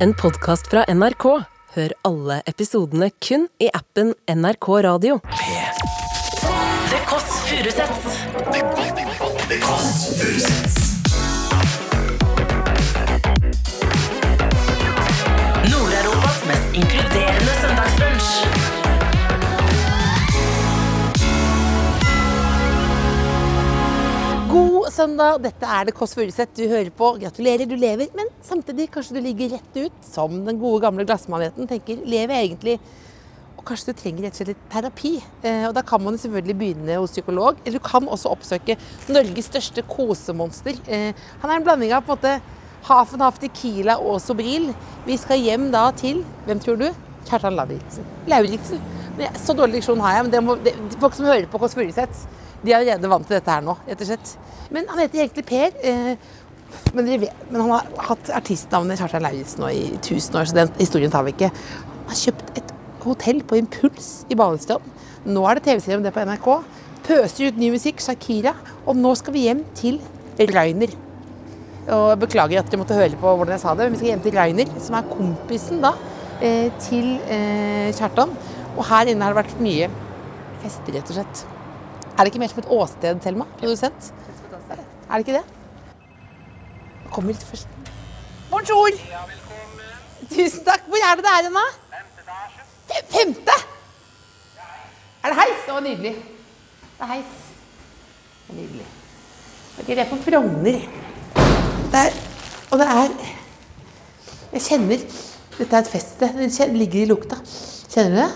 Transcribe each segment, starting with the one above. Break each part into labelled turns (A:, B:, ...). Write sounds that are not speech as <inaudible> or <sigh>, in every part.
A: en podkast fra NRK. Hør alle episodene kun i appen NRK Radio.
B: Det Kåss Furuseths.
C: The Kåss Furuseths.
B: Nord-Europas mest inkluderende søndagsbrunsj.
D: God søndag, dette er det Kåss Furuseth du hører på. Gratulerer, du lever, men samtidig kanskje du ligger rett ut, som den gode gamle glassmaneten tenker, lever jeg egentlig? Og kanskje du trenger rett og slett litt terapi. Eh, og da kan man jo selvfølgelig begynne hos psykolog, eller du kan også oppsøke Norges største kosemonster. Eh, han er en blanding av på en måte Hafenhaff Tequila og Sobril. Vi skal hjem da til, hvem tror du? Kjartan Lauritzen. Lauritzen. Men jeg- Så dårlig diksjon har jeg, men det må, det, folk som hører på Kåss Furuseth, de er allerede vant til dette her nå, rett og slett. Men han heter egentlig Per. Eh, men, dere vet, men han har hatt artistnavnet Kjartan Lauritzen nå i 1000 år, så den historien tar vi ikke. Han har kjøpt et hotell på Impuls i Balestrand. Nå er det TV-serie om det på NRK. Pøser ut ny musikk, Shakira. Og nå skal vi hjem til Rainer. Og jeg beklager at dere måtte høre på hvordan jeg sa det, men vi skal hjem til Rainer, som er kompisen da, eh, til eh, Kjartan. Og her inne har det vært mye fester, rett og slett. Er det ikke mer som et åsted, Thelma, produsent? Er det ikke det? Nå Kommer litt først. Bonjour! Tusen takk. Hvor er det det er igjen, da? Fe- Femte? Er det heis? Det var nydelig. Det er heis. Det er nydelig. Ok, det er på Frogner. Det er, og det er Jeg kjenner Dette er et feststed. Det kjen- ligger i lukta. Kjenner du det?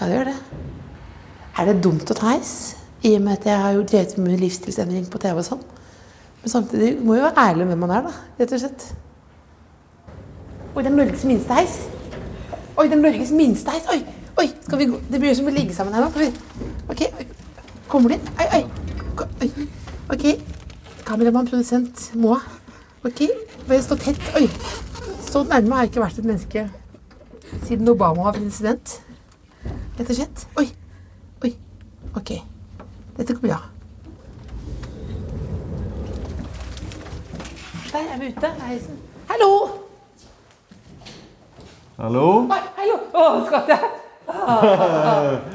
D: Ja, det gjør det. Er det dumt å ta heis? I og med at jeg har jo drevet med livsstilsendring på TV og sånn. Men samtidig må jo være ærlig med hvem man er, da. Rett og slett. Oi, det er Norges minste heis. Oi, det er Norges minste heis. Oi, oi, skal vi gå? Det blir jo som å ligge sammen her nå. Skal vi? Ok, oi. kommer de? Oi, oi. Ko- oi. Ok, kameramann, produsent, Moa. Ok, bare stå tett. Oi, så nærme har jeg ikke vært et menneske siden Obama var president. Rett og slett. Oi, oi. Ok, dette går bra. Der er vi ute. Der er heisen. Hallo!
E: Hallo?
D: Oi, hallo! Å, skatt
E: <laughs>
D: jeg.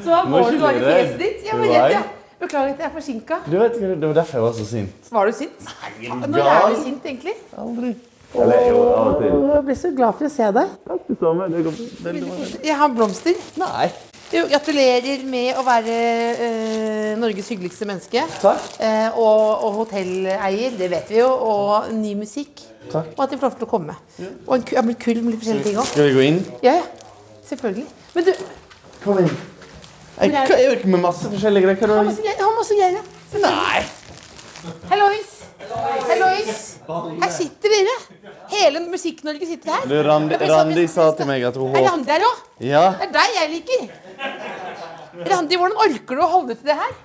D: Så da var
E: Nå
D: du bare i
E: skylder jeg deg.
D: fjeset ditt. Ja,
E: Du
D: men
E: var
D: rett,
E: jeg.
D: ja. Beklager at jeg er forsinka.
E: Du vet, Det var derfor jeg var så sint.
D: Var du sint? Når er du sint, egentlig?
E: Aldri. Eller jo, av og til.
D: Jeg ble så glad for å se deg.
E: Takk, det samme. Det går veldig bra.
D: Jeg har blomster.
E: Nei.
D: Jo, gratulerer med å være eh, Norges hyggeligste menneske.
E: Takk.
D: Eh, og, og hotelleier, det vet vi jo. Og ny musikk.
E: Takk.
D: Og at de får lov til å komme. Og en, ku- jeg har blitt kul med litt forskjellige ting òg.
E: Skal vi gå inn?
D: Ja, ja. Selvfølgelig. Men du,
E: Kom inn. Jeg
D: Hvor er-
E: kan gjøre med masse forskjellige
D: han
E: greier.
D: har
E: Hva
D: masse greier. Han har masse greier. ja.
E: Nei.
D: Hallois! Hallois! Her sitter dere. Hele Musikk-Norge sitter her.
E: Du, Randi,
D: Jeg ble så-
E: Randi sa til meg at hun
D: Er
E: håpet
D: Randi her òg?
E: Ja.
D: Det er deg jeg liker. Randi, hvordan orker du å holde til det her?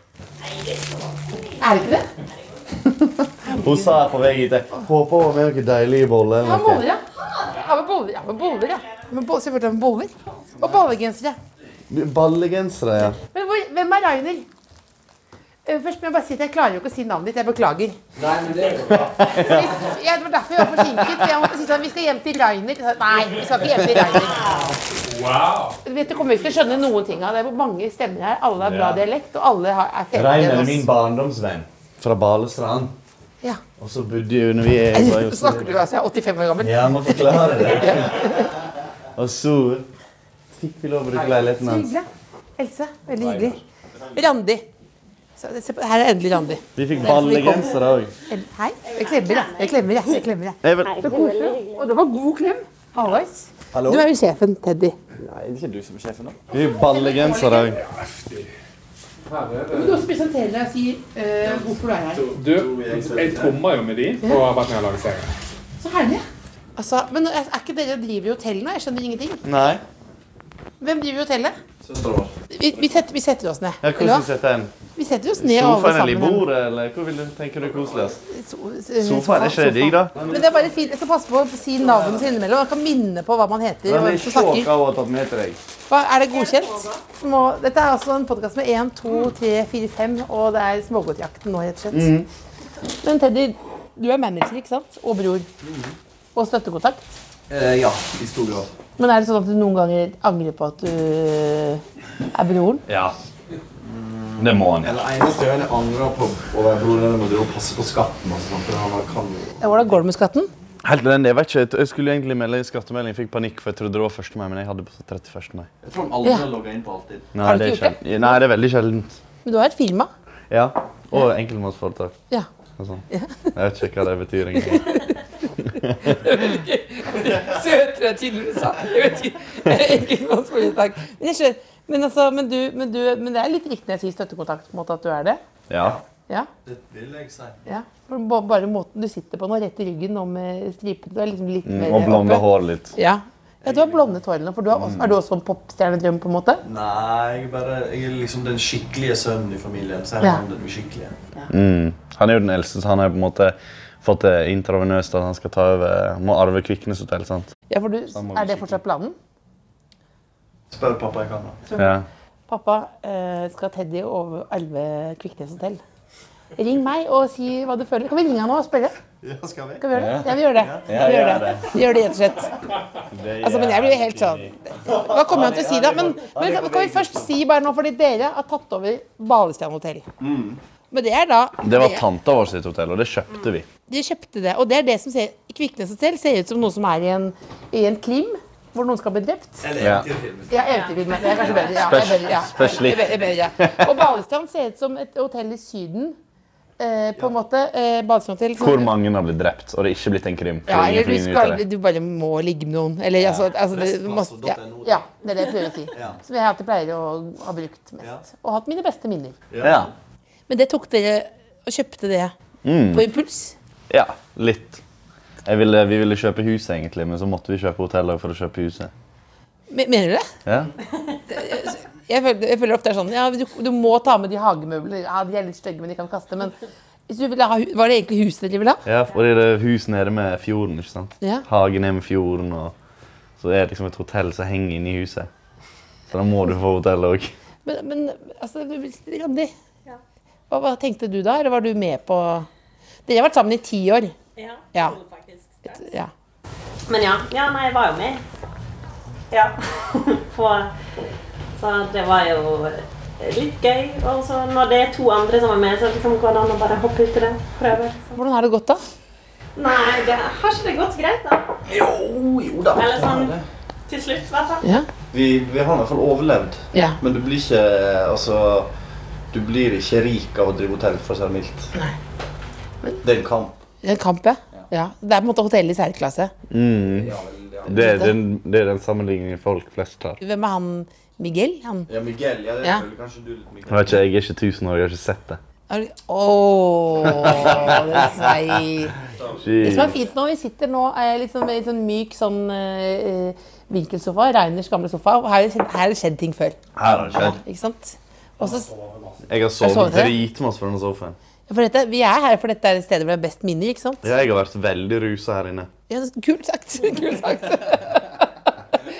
D: Er det ikke det?
E: Hun sa på vei hit jeg Håper hun har med noen deilige boller.
D: Ja,
E: eller noe.
D: boller, ja. Ja, med boller, ja. Med boller, ja. Med bo selvfølgelig med boller. Og ballegensere.
E: Ballegensere, ja.
D: Men hvor, hvem er Rainer? Eh, Først må jeg bare si at jeg klarer jo ikke å si navnet ditt. Jeg beklager. Fordi- ja, det var derfor jeg var forsinket. for Jeg måtte si sånn, Vi skal hjem til Rainer. Så- Nei, vi skal ikke hjem til Rainer. Du vet, Du kommer ikke til å skjønne noen ting av det. Det er mange stemmer her. Alle har bra
E: Ja.
D: dialekt, og alle har, er fete.
E: Rein
D: enn
E: er
D: oss.
E: min barndomsvenn fra Balestrand.
D: Ja.
E: Og så bodde jo når vi jeg var jo så-
D: <laughs> Snakker du altså? Jeg er 85 år gammel.
E: Ja, jeg må forklare <laughs> det. Og så fikk vi lov å bruke leiligheten
D: Så
E: hans.
D: hyggelig. Else, veldig hyggelig. Randi. Så, se på- her er endelig Randi.
E: Vi fikk ballegensere òg.
D: El- Hei. Jeg klemmer, jeg. Jeg klemmer, jeg. jeg, klemmer, jeg.
E: Nei,
D: Så koselig. Og det var god klem. Hallois.
E: Hallo?
D: Du er jo sjefen, Teddy.
E: Vi fikk ballegensere òg.
D: Men du også presenterer deg og sier eh, hvorfor du er her.
F: Du, jeg trommer jo med de og har vært med å lage serien.
D: Så herlig. Altså, men er er ikke dere driver i hotell nå? Jeg skjønner ingenting.
E: Nei.
D: Hvem driver i hotellet? Vi, vi, setter, vi setter oss ned.
E: Ja,
D: Eller
E: hvordan
D: hva?
E: setter en
D: vi setter oss ned alle
E: sofaen eller i
D: sammen.
E: bordet, eller hvor vil du tenke du er koseligst?
D: So, eh,
E: Sofaen er ikke det digg, da?
D: Men det er bare fint. Jeg skal passe på å si navnet sitt innimellom. Man kan minne på hva man heter. og
E: Den
D: hvem
E: er
D: som
E: sjokk
D: snakker.
E: av å ha tatt med til deg.
D: Hva, er det godkjent? Må, dette er altså en podkast med 1, 2, 3, 4, 5, og det er smågodtjakten nå, rett og slett.
E: Mhm.
D: Men Teddy, du er manager, ikke sant? Og bror. Og støttekontakt.
G: Eh, ja, i stor grad.
D: Men er det sånn at du noen ganger angrer på at du eh, er broren?
H: Ja. Det må han.
G: Det eneste jeg angrer på å være broren eller må passe på skatten. og sånt, for han kan jo...
D: Ja, Hvordan går det med skatten?
E: Helt elendig. Jeg vet ikke, jeg t- jeg skulle egentlig melde skattemelding, jeg fikk panikk, for jeg trodde det var 1. mai, men jeg hadde på 31. mai.
G: Jeg tror han aldri
D: Ja.
G: har logget inn på Altinn.
E: Nei,
D: Har du
E: det er
D: ikke gjort
E: sjelden- Nei, det er veldig sjeldent.
D: Men du har et <laughs> firma?
E: Ja. Og enkeltmannsforetak.
D: Ja.
E: og sånn. Jeg vet ikke hva det betyr
D: <laughs>
E: engang.
D: Søtere enn tidligere sa. Jeg vet ikke. Enkeltmannsforetak. Men jeg skjønner. Men, altså, men, du, men, du, men det er litt riktig når jeg sier støttekontakt, på en måte at du er det?
E: Ja.
D: Ja.
G: Det vil jeg si.
D: ja. For ba- bare måten du sitter på nå, rett i ryggen nå med stripene Du er liksom litt mer
E: Mm, Og blonde
D: oppe.
E: hår Mm. litt.
D: Ja. ja, du har blondet hår nå, for du har også, er du også en popstjernedrøm, på en måte?
G: Nei, jeg, bare, jeg er liksom den skikkelige sønnen i familien. Så er
D: Ja.
G: han den uskikkelige.
E: Mm. Han er jo den eldste, så han har på en måte fått det intravenøst at han skal ta over, må arve Kviknes Hotell. sant?
D: Ja, for du,
E: må
D: er det fortsatt planen?
G: Spør pappa i kamera.
E: Ja.
D: Pappa, eh, skal Teddy over arve Kviknes hotell? Ring meg og si hva du føler. Kan vi ringe han nå og spørre?
G: Ja, skal vi?
D: Skal vi gjøre det? Ja, vi gjør det. vi gjør det. Vi gjør det rett og slett. Altså, men jeg blir jo helt sånn Hva kommer han til å si da? Men, men kan vi først si bare nå, fordi dere har tatt over Balestrand hotell. Mm. Men det er da
E: Det var tanta vår sitt hotell, og det kjøpte vi.
D: De kjøpte det. Og det er det som ser Kviknes hotell ser ut som noe som er i en, i en krim, hvor noen skal bli drept.
G: Eller
E: Ja.
G: eventyrfilmen.
D: Ja, eventyrfilm. Det er kanskje bedre. Ja,
E: Spes-
D: det er bedre, ja.
E: spesielt.
D: Det er bedre, det er bedre. Og Balestrand ser ut som et hotell i Syden. Eh, på en måte. Eh, Balestrand hotell.
E: Hvor mange har blitt drept, og det er ikke blitt en krim? for
D: Ja,
E: ingen
D: eller du,
E: finner ut av
D: skal,
E: det.
D: du bare må ligge med noen. Eller altså, altså det, du må, ja,
G: Restplass.no.
D: ja, det er det jeg prøver å si.
G: Ja.
D: Som jeg alltid pleier å ha brukt mest. Og hatt mine beste minner.
E: Ja.
D: Men det tok dere og kjøpte det
E: Mm.
D: på impuls?
E: ja, litt. Jeg ville, vi ville kjøpe huset, egentlig, men så måtte vi kjøpe hotellet for å kjøpe huset.
D: Me- Mener du det?
E: Ja.
D: Jeg føler, jeg føler ofte det er sånn Ja, du, du må ta med de hagemøblene. Ja, de er litt stygge, men de kan kaste. Men hvis du ville ha, hu- var det egentlig huset dere ville ha?
E: ja, for det er hus nede med fjorden, ikke sant?
D: Ja.
E: Hagen er med fjorden, og så er det liksom et hotell som henger inne i huset. Så da må du få hotell òg.
D: Men, men altså, Randi, hva, hva tenkte du da? Eller var du med på Dere har vært sammen i ti år.
I: Ja,
D: Ja.
I: holder faktisk straks.
D: Ja.
I: Men ja. ja, nei, jeg var jo med. Ja. <laughs> På, så det var jo litt gøy. Og så når det er to andre som er med, så liksom går det an å bare hoppe uti det. Prøve. liksom.
D: Hvordan har det gått, da?
I: Nei, det, har ikke det gått greit, da?
G: Jo, jo da.
I: Eller sånn til slutt, i hvert fall.
D: Ja.
G: Vi, vi har i hvert fall overlevd.
D: Ja.
G: Men du blir ikke Altså Du blir ikke rik av å drive hotell, for å si det mildt. Det er en kamp.
D: Det er en kamp, ja. ja. Det er på en måte hotell i særklasse.
E: Mm. Det, er den- det er den sammenligningen folk flest tar.
D: Hvem er han Miguel? Han
G: Ja, Miguel, ja, det
D: Ja.
G: føler kanskje du litt Miguel.
E: Jeg vet ikke, jeg er ikke tusen år, jeg har ikke sett det.
D: er- Åh, det svei. Det som er fint nå, vi sitter nå eh, liksom, i en sånn myk sånn eh, eh, vinkelsofa. Reiners gamle sofa. Og her, her har det skjedd ting før.
E: Her har det skjedd.
D: Ikke sant? Og så
E: Jeg har
D: sovet
E: sovet
D: her?
E: dritmasse på denne sofaen.
D: For dette, vi er her for dette er stedet hvor det er best minner, ikke sant?
E: Ja, jeg har vært veldig rusa her inne.
D: Ja, det- kult sagt. <laughs> Kult sagt.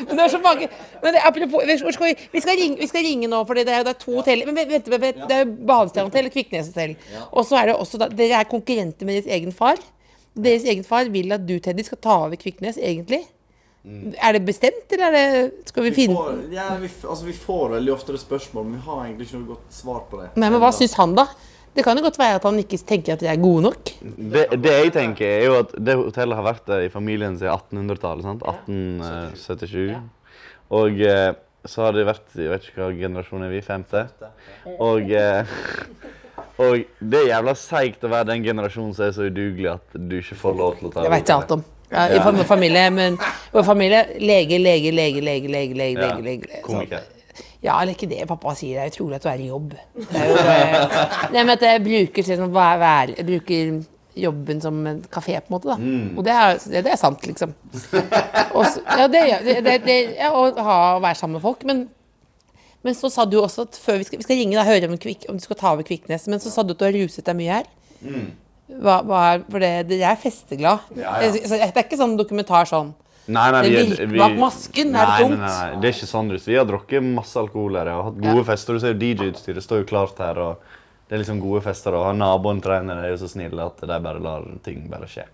D: Men det er så mange men det, apropos, vi, hvor skal vi, vi, skal ringe, vi skal ringe nå, for det er jo det er to hoteller Men vent, vent, vent, vent, det er jo Balestrand hotell og Kviknes hotell. Og så er det også da, Dere er konkurrenter med deres egen far. Deres egen far vil at du, Teddy, skal ta over Kviknes, egentlig. Er det bestemt, eller er det Skal vi finne
G: Får, ja, vi, f- altså, vi får veldig ofte det spørsmål, men vi har egentlig ikke noe godt svar på det.
D: Nei, men hva syns han, da? Det kan jo godt være at han ikke tenker at dere er gode nok.
E: Det, det jeg tenker, er jo at det hotellet har vært der i familien siden 1800-tallet. sant? 1877. Og eh, så har det vært Jeg vet ikke hva generasjon er vi? Femte? Og, eh, <laughs> og det er jævla seigt å være den generasjonen som er så udugelig at du ikke får lov til å ta
D: Det vet jeg alt om. Ja, I fam- familie, men vår familie lege, lege, lege, lege, lege, lege, lege, lege. lege.
E: Komiker.
D: Ja, eller ikke det pappa sier. Det er utrolig at du er i jobb. Det er jo, eh, nei, men at jeg bruker, sånn, hva er vær- jeg bruker jobben som en kafé, på en måte. da. Og det er, det, det er sant, liksom. Og, så- ja, det, gjør- det, det, det, ja, å ha, å være sammen med folk. Men, men så sa du også at før vi skal, vi skal ringe og høre om, Kvik, om du skal ta over Kviknes, men så sa du at du har ruset deg mye her. Hva, hva er, for det, det, jeg er festeglad. Jeg- så Det er ikke sånn dokumentar sånn.
E: Nei, nei,
D: Det
E: vi,
D: virker bak masken, er det
E: nei,
D: tungt?
E: Nei, nei, nei, det er ikke sånn. Russ. Vi har drukket masse alkohol her. Jeg har hatt gode fester. Du ser jo DJ-utstyret står jo klart her. og Det er liksom gode fester. og Naboen trener er jo så snille at de bare lar ting bare skje.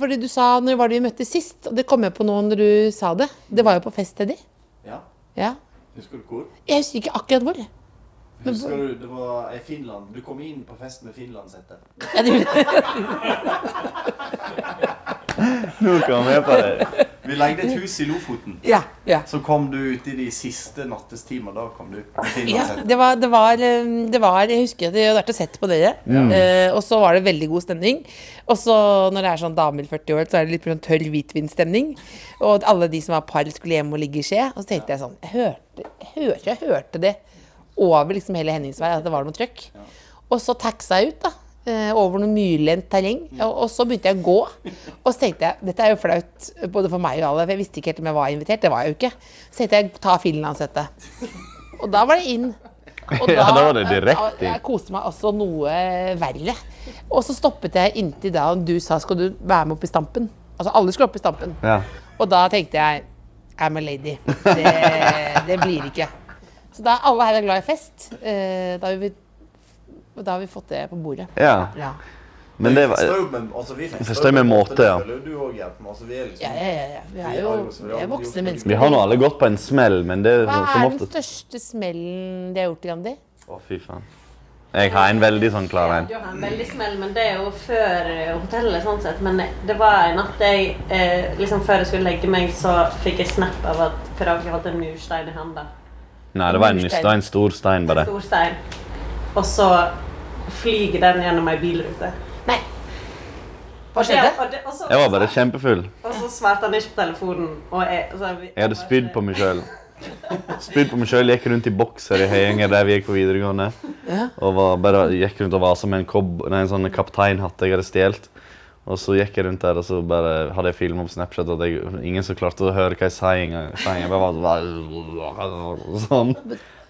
D: Fordi du sa når var det vi møttes sist, og det kom jeg på nå når du sa det. Det var jo på fest, Teddy.
G: Ja.
D: Ja.
G: Husker du hvor?
D: Jeg husker ikke akkurat hvor.
G: Husker du, det var i Finland. Du kom inn på fest med finlandshette.
D: Ja, det gjorde jeg.
E: Nå kan vi på det.
G: Vi leide et hus i Lofoten.
D: Ja, ja.
G: Så kom du ut i de siste nattestimer. Da kom du med
D: Ja,
G: finlandshette.
D: det var, det, var, eh, det var Jeg husker at jeg hadde vært og sett på dere. Eh, og så var det veldig god stemning. Og så når det er sånn damer i 40 år, så er det litt sånn tørr hvitvinstemning. Og at alle de som var par, skulle hjem og ligge i skje. Og så tenkte jeg sånn Jeg hørte, jeg hørte, jeg hørte det over liksom hele Henningsvei, at det var noe trøkk. Og så taxa jeg ut, da. eh, Over noe myrlendt terreng. Og, og så begynte jeg å gå. Og så tenkte jeg dette er jo flaut både for meg og alle, for jeg visste ikke helt om jeg var invitert. Det var jeg jo ikke. Så tenkte jeg ta finlandshette. Og da var det inn. Og
E: <laughs> Ja, da var det direkte
D: Jeg,
E: inn.
D: jeg koste meg altså noe verre. Og så stoppet jeg inntil da du sa skal du være med opp i stampen. Altså alle skulle opp i stampen.
E: Ja.
D: Og da tenkte jeg I'm a lady.
E: <laughs>
D: Det, det blir ikke. Så da alle her er glad i fest. eh, Da har vi, da har vi fått det på bordet.
E: ja.
D: Ja,
E: Men det var
G: Forstår jo med- altså, vi forstår
E: Forstår
G: jo
E: med
G: en
E: måte, ja.
G: det føler jo Du òg, Gerd. men Altså, vi er
D: ja,
G: liksom
D: ja. ja, ja. Vi er jo vi er voksne mennesker.
E: Vi har nå alle gått på en smell, men det er
D: Hva
E: som
D: er den
E: oftest
D: største smellen de har gjort, Gandhi?
E: Å, fy faen. Jeg har en veldig sånn klar en.
I: Du har en veldig smell, men det er jo før eh, hotellet, sånn sett. Men det var en natt jeg eh, liksom Før jeg skulle legge meg, så fikk jeg snap av at Karaoke holdt en murstein i handa.
E: Nei, det var en, det var en stor stein, bare.
I: Stor stein. Og så flyger den gjennom ei bilrute.
D: Nei. Hva skjedde?
I: Og det- og så-
E: Jeg var bare kjempefull.
I: Og så svarte han ikke på telefonen. Og jeg, så vi-
E: Jeg hadde spydd på meg sjøl. Spydd på meg sjøl, gikk rundt i bokser i Høyanger der vi gikk på videregående. Og var, bare gikk rundt og vasa med en, kob, nei, en sånn kapteinhatt jeg hadde stjålet. Og så gikk jeg rundt der, og så bare hadde jeg filma på Snapchat at jeg, ingen som klarte å høre hva jeg sa engang. sa engang. Jeg bare var sånn.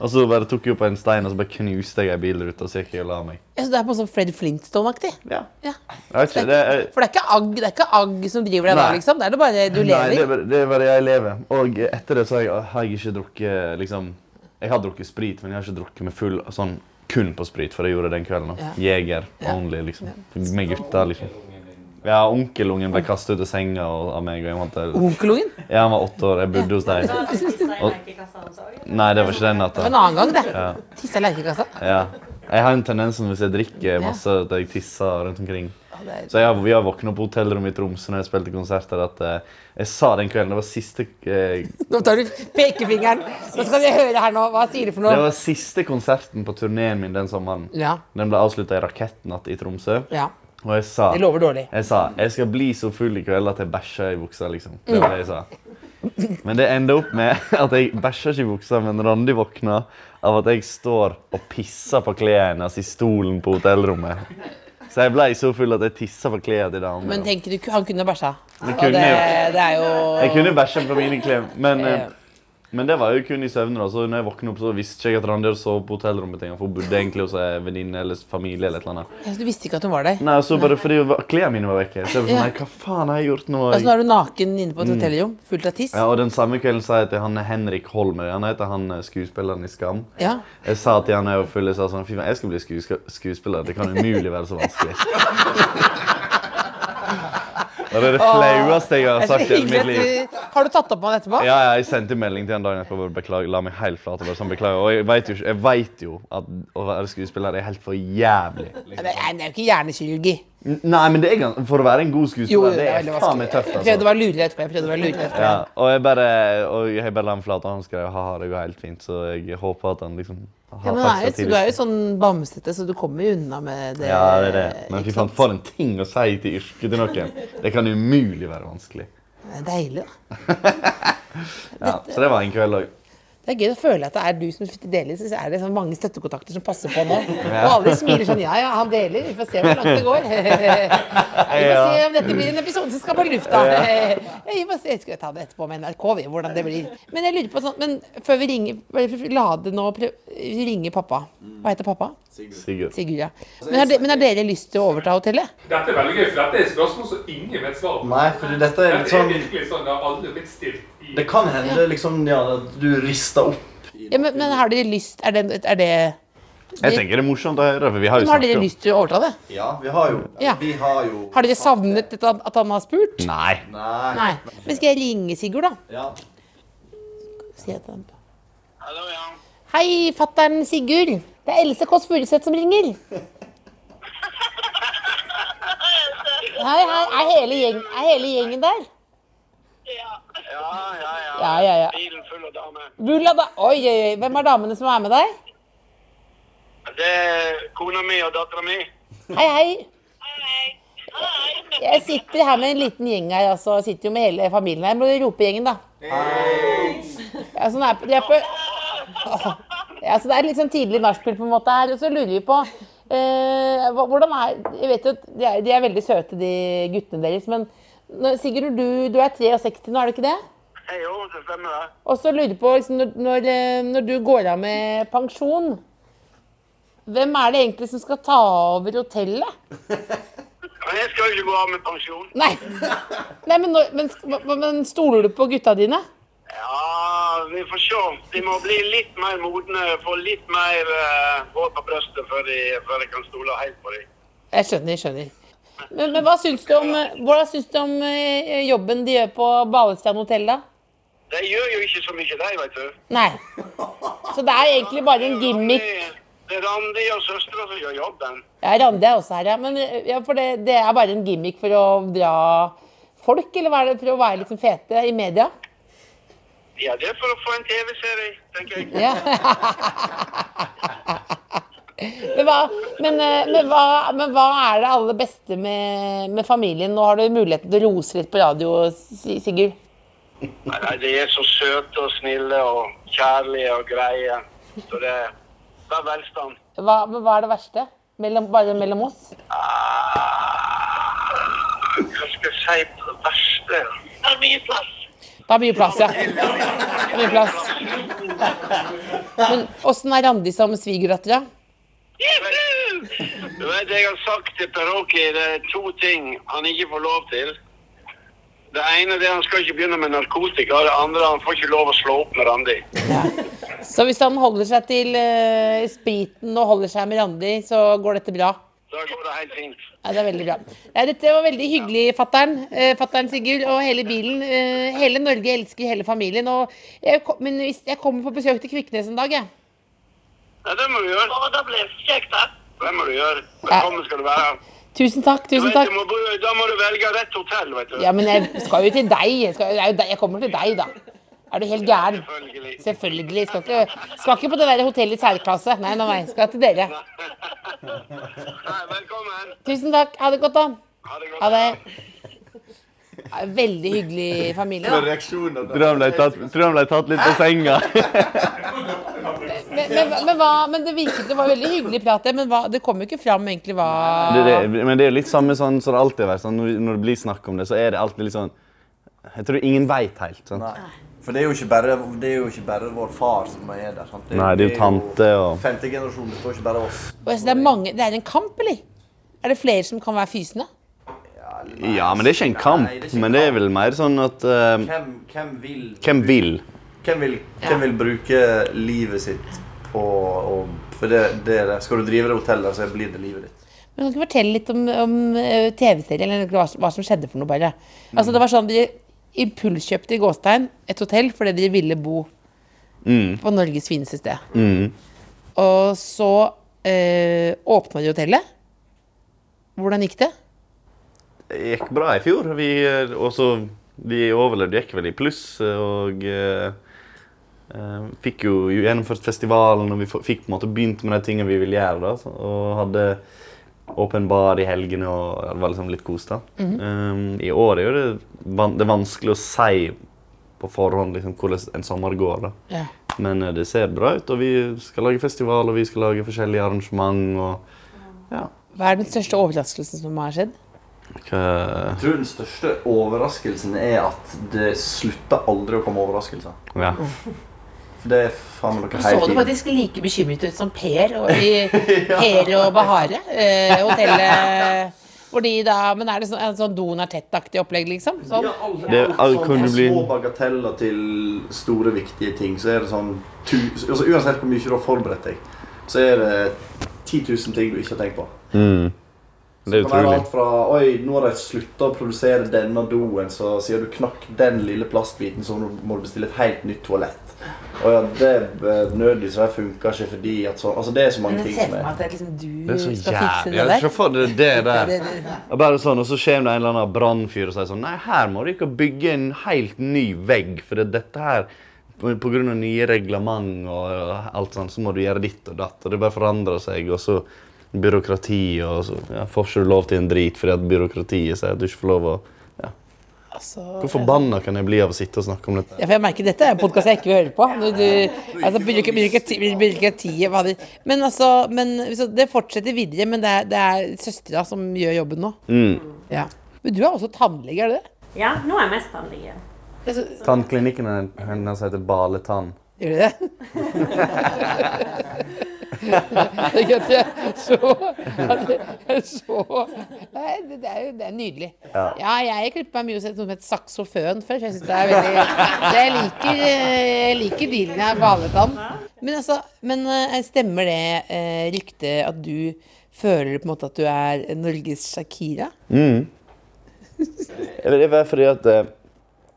E: Og så bare tok jeg opp en stein og så bare knuste jeg ei bilrute, og så gikk jeg og la meg.
D: Jeg synes det er på sånn Fred Flintstone-aktig.
E: Ja.
D: Ja.
E: Jeg vet ikke, det er,
D: For det er ikke agg, det er ikke agg som driver deg da,
E: Nei.
D: liksom. Det er det bare du
E: Nei, det er,
D: lever.
E: bare, det er bare jeg lever. Og etter det så har jeg, har jeg ikke drukket liksom, Jeg har drukket sprit, men jeg har ikke drukket med full sånn kun på sprit, for jeg gjorde det den kvelden. da. Jeger only, liksom. Med gutta, liksom. Ja, onkelungen ble kastet ut av senga og, av meg. Og jeg måtte,
D: Onkelungen? Det
E: ja, han var åtte år, jeg bodde hos
I: Da
E: dem.
I: fikk vi steinleikekassa hans også.
E: Nei, det var ikke den natta.
D: var en annen gang, det. Tissa i leikekassa.
E: Ja. Jeg har en tendens når hvis jeg drikker masse, at jeg tisser rundt omkring.
D: det er-
E: Så jeg, har- vi har våkna på hotellrommet i Tromsø når jeg spilte konsert der, at eh, jeg sa den kvelden Det var siste eh,
D: Nå tar du pekefingeren. Nå skal vi høre her nå. Hva sier du for
E: Det
D: noe?
E: var siste konserten på turneen min den sommeren.
D: Ja.
E: Den ble avslutta i Rakettnatt i Tromsø.
D: Ja.
E: Og jeg sa,
D: Det lover dårlig.
E: jeg sa jeg skal bli så full i kveld at jeg bæsjer i buksa. liksom. Det var det jeg sa. Men det enda opp med <laughs> at jeg bæsjer ikke i buksa, men Randi våkna av at jeg står og pisser på klærne hennes i stolen på hotellrommet. Så jeg ble så full at jeg tissa på klærne til
D: Men
E: damene.
D: tenker du, han kunne ha bæsja. Og
E: kunne
D: det,
E: jo.
D: det er jo
E: Jeg kunne bæsja på mine klær, men eh,
D: Ja.
E: men det var jo kun i søvne. da, så når jeg våkna opp, så visste ikke jeg at Randi hadde sovet på hotellrommet. til en gang, For hun bodde egentlig hos en venninne eller familie. eller et eller annet.
D: Du visste ikke at hun var der.
E: Nei, så bare fordi klærne mine var vekke. Så
D: Ja.
E: jeg var sånn,
D: Altså,
E: nei, hva faen har jeg gjort nå?
D: Og så nå er du naken inne på et hotellrom, fullt av tiss.
E: Mm. Ja, og den samme kvelden sa jeg til han eh, Henrik Holm, han heter han eh, skuespilleren i Skam.
D: Ja.
E: Jeg sa til han jeg var full, jeg sa sånn, fy faen, jeg skal bli skueska- skuespiller, det kan umulig være så vanskelig. Og det er det flaueste jeg har
D: Det er så
E: sagt i hele
D: hyggelig
E: mitt
D: at
E: liv.
D: du Har du tatt opp med han etterpå?
E: Ja, ja, jeg sendte melding til han dagen etterpå og bare beklager, la meg helt flat og bare sånn beklager. Og jeg vet jo, ikke- jeg vet jo at å være skuespiller er helt for jævlig.
D: Nei, det er jo ikke hjernekirurgi.
E: Nei, men det er, gans- for å være en god
D: Jo,
E: skuespiller, det er
D: veldig
E: faen
D: vanskelig.
E: meg tøft,
D: Jeg
E: altså.
D: prøvde å være lurig etterpå. Jeg prøvde å være lurig etterpå.
E: Ja, og jeg bare, og jeg bare la ham flat, og han skrev ha det går helt fint, så jeg håper at han liksom har
D: Ja, men det
E: tatt seg
D: er jo,
E: tid.
D: du er jo sånn bamsete, så du kommer jo unna med det.
E: Ja, det er det.
D: ikke
E: Men fy faen,
D: sant?
E: for en ting å si til yrket til noen. Det kan umulig være vanskelig.
D: Det er deilig, da.
E: Ja, så det var en kveld òg.
D: Det er gøy å føle at det er du som deler. Så er det sånn mange støttekontakter som passer på <laughs> nå. Og alle smiler sånn Ja, ja, han deler. Vi får se hvor langt det <laughs> går. Vi får se om dette blir en episode som skal på lufta. <laughs> Ja, Vi får se. Skal vi ta det etterpå med NRK, vi, hvordan det blir. Men jeg lurer på sånn Men før vi ringer bare La det nå prøv- Vi ringer pappa. Hva heter pappa?
E: Sigurd.
D: Sigurd, ja. Men har, de, men har dere lyst til å overta hotellet?
F: Dette er veldig gøy, for dette er et spørsmål som ingen vet svaret på.
G: Nei, for dette er litt
F: Dette er
G: sånn
F: virkelig sånn, det har aldri blitt stilt i
G: Det kan hende liksom, ja, at du rister opp.
D: Ja, men, men har dere lyst Er det, er det
E: Jeg tenker det er morsomt å høre, for vi har jo
D: Men har dere
E: snakket om
D: lyst til å overta det?
G: Ja, vi har jo
D: Ja.
G: Vi har jo
D: Har dere savnet dette, at han har spurt?
E: Nei.
G: Nei.
D: Nei. Men skal jeg ringe Sigurd, da?
G: Ja.
D: Si at han Hei, fattern Sigurd. Det er Else Kåss Furuseth som ringer. Hei, hei. Er hele, gjeng, er hele gjengen der? Ja, ja, ja. Bilen full av damer. Oi, oi, oi. Hvem er damene som er med deg? Det er kona mi og dattera mi. Hei, hei. Jeg sitter her med en liten gjeng her, altså. Jeg sitter jo med hele familien her. Jeg må rope gjengen, da. Ja, sånn er, de er på, Åh. ja, så det er litt sånn tidlig nachspiel på en måte her. Og så lurer vi på eh, hva- hvordan er, Jeg vet jo at de er, de er veldig søte, de guttene deres. Men når, Sigurd, du, du er 63 nå, er du ikke det?
J: Jo, det stemmer det.
D: Og så lurer jeg på, liksom, når, når, eh, når du går av med pensjon hvem er det egentlig som skal ta over hotellet?
J: Men jeg skal jo ikke gå av med pensjon.
D: Nei, <laughs> Nei men, når, men, sk- hva- men stoler du på gutta dine?
J: Ja, vi får se. De må bli litt mer modne, få litt mer eh, hår på brøstet før de, før de kan stole helt på dem.
D: Jeg skjønner, jeg skjønner. Men, men hva syns du om, hvordan syns du om eh, jobben de gjør på Balestrand hotell, da?
J: De gjør jo ikke så mye, de, vet du.
D: Nei. Så det er egentlig bare en gimmick.
J: Det- Det er Randi og søstera som gjør jobben.
D: Ja, Randi er også her, ja. Men eh, ja, for det, det er bare en gimmick for å dra folk, eller hva er det for å være liksom fete i media?
J: Ja, det er for å få en TV-serie, tenker jeg.
D: Ja. <laughs> Men hva, men, eh, men, hva, men hva er det aller beste med, med familien? Nå har du muligheten til å rose litt på radio, Si- Sigurd.
J: Nei, nei, de er så søte og snille og kjærlige og greie. Så det, det er velstand.
D: Hva, men hva er det verste? Mellom, bare mellom oss?
J: Hva skal jeg si på det verste? Det er mye plass.
D: Det er mye plass, ja. Det er mye plass. Men åssen er Randi som svigerdatter, da?
J: Du vet, jeg har sagt til Per Åke det er to ting han ikke får lov til. Det ene det er han skal ikke begynne med narkotika. Det andre han får ikke lov å slå opp med Randi.
D: Så hvis han holder seg til eh, spriten og holder seg med Randi, så går dette bra?
J: Da går det helt fint.
D: Ja, det er veldig bra. Ja, dette var veldig hyggelig, fattern. Eh, fattern Sigurd og hele bilen. Eh, hele Norge elsker hele familien. Og jeg, kom- men hvis jeg kommer på besøk til Kviknes en dag, jeg.
J: Ja, det må du gjøre. Ja, det blir kjekt, da. Det må du gjøre. Velkommen skal du være.
D: Tusen takk,
J: Du
D: tusen
J: vet,
D: takk.
J: du må, bo- da må du velge rett hotell, vet du.
D: Ja, men jeg skal jo til deg. Jeg, skal, det er jo deg. jeg kommer til deg, da. Er du helt gæren?
J: Selvfølgelig.
D: Selvfølgelig. Skal ikke, skal ikke på det der hotellet i særklasse. Nei, nei, nei. Skal til dere.
J: Nei, velkommen.
D: Tusen takk. Ha det godt, da.
J: Ha det godt.
D: Ha det. Ja, Veldig hyggelig familie. da.
G: Reaksjoner
E: Tror han ble tatt, tror han ble tatt litt på senga.
D: Men, men, men, hva, men det virket det var veldig hyggelig prat, det, men hva, det kom jo ikke fram egentlig hva
E: <laughs> Det, det, men det er jo litt samme sånn som det alltid har vært. Sånn, når- når det blir snakk om det, så er det alltid litt sånn Jeg tror ingen veit helt. sant?
G: Nei. For det er, jo ikke bare, det er jo ikke bare vår far som er der. sant?
E: Nei, det er jo tante og-
G: Femte generasjon består ikke bare av oss.
D: Og jeg synes det, er mange, det er en kamp, eller? Er det flere som kan være fysende?
E: Ja, men det er ikke en kamp.
G: Nei, det er ikke en
E: Men det er vel mer sånn at eh,
G: Hvem, hvem, vil,
E: Hvem vil?
G: hvem, vil, hvem vil bruke livet sitt på å For det, det er det. Skal du drive det hotellet, så blir det livet ditt.
D: Men kan du ikke fortelle litt om, om eh, TV-serien, eller hva, som- hva som skjedde for noe, bare? Altså, det var sånn, de impulskjøpte i Gåstein et hotell fordi de ville bo på Norges fineste sted.
E: Mm.
D: Og så eh, åpna de hotellet. Hvordan gikk det?
E: Det gikk bra i fjor. Vi, eh, og så vi overlevde gikk vel i pluss. eh, Og eh, eh, fikk jo gjennomført festivalen, og vi få- fikk på en måte begynt med de tingene vi ville gjøre. da, så- Og hadde åpen bar i helgene og det var liksom litt kos. da. Eh, I år er jo det, van det er vanskelig å si på forhånd liksom, hvordan en sommer går. da.
D: Ja.
E: Men eh, det ser bra ut, og vi skal lage festival, og vi skal lage forskjellige arrangement. og ja.
D: Hva er den største overraskelsen som har skjedd?
E: Hva,
G: Jeg tror den største overraskelsen er at det slutter aldri å komme overraskelser.
E: ja.
G: For det er faen meg noe
D: Så
G: hele
D: du
G: tiden.
D: faktisk like bekymret ut som Per og, <laughs> i, per og Bahare. Eh, <laughs> hotellet hvor de da Men er det sånn, en sånn doen er tett-aktig opplegg, liksom? Sånn.
E: Det er- alt kan
G: Fra
E: jo bli-
G: små bagateller til store, viktige ting, så er det sånn tu, altså Uansett hvor mye du har forberedt deg, så er det 10 000 ting du ikke har tenkt på.
E: Mm. Det er
G: Det kan være
E: utrolig.
G: alt fra Oi, nå har de slutta å produsere denne doen, så siden du knakk den lille plastbiten, så nå må du bestille et helt nytt toalett. Og ja, det eh, nødlyset der funker ikke fordi at så Altså, det er så
D: Men
G: mange
D: jeg
G: ting
D: ser
G: som
D: for meg
G: er
D: at det er liksom du
E: Det er så
D: skal fikse
E: jævlig.
D: det
E: Ja,
D: der.
E: se for deg det der.
D: Det- det- det.
E: Ja, Bare sånn, og så kommer det en eller annen brannfyr og sier sånn Nei, her må dere bygge en helt ny vegg, for det- dette her på- på grunn av nye reglement og alt sånt, så må du gjøre ditt og datt. Og det bare forandrer seg, og så byråkrati, og så ja, får ikke du lov til en drit fordi at byråkratiet sier at du ikke får lov å ja.
D: Altså,
E: Hvor forbanna kan jeg bli av å sitte og snakke om dette?
D: Ja, for jeg merker Dette er en podkast jeg ikke vil høre på. Du, du, altså, byråkrati- byråkrati- byråkratiet hva det- Men altså, men, så det fortsetter videre, men det er, det er søstera som gjør jobben nå.
E: Mm.
D: Ja. Men du er også tannlege, er du det?
I: Ja, nå er jeg mest tannlege.
D: Altså,
E: Tannklinikken hennes heter Baletann.
D: Gjør du det? <laughs> det er ikke at jeg så, at jeg så Nei, det, det er jo det er nydelig. Ja,
E: Ja.
D: jeg klipper meg mye hos et- noe som heter saksoføn før, så jeg synes det er veldig Så jeg liker, eh, jeg liker dealen jeg har balet om. Men altså, men eh, stemmer det eh, ryktet at du føler på en måte at du er Norges Shakira?
E: Mm. <laughs> Eller det er bare fordi at eh,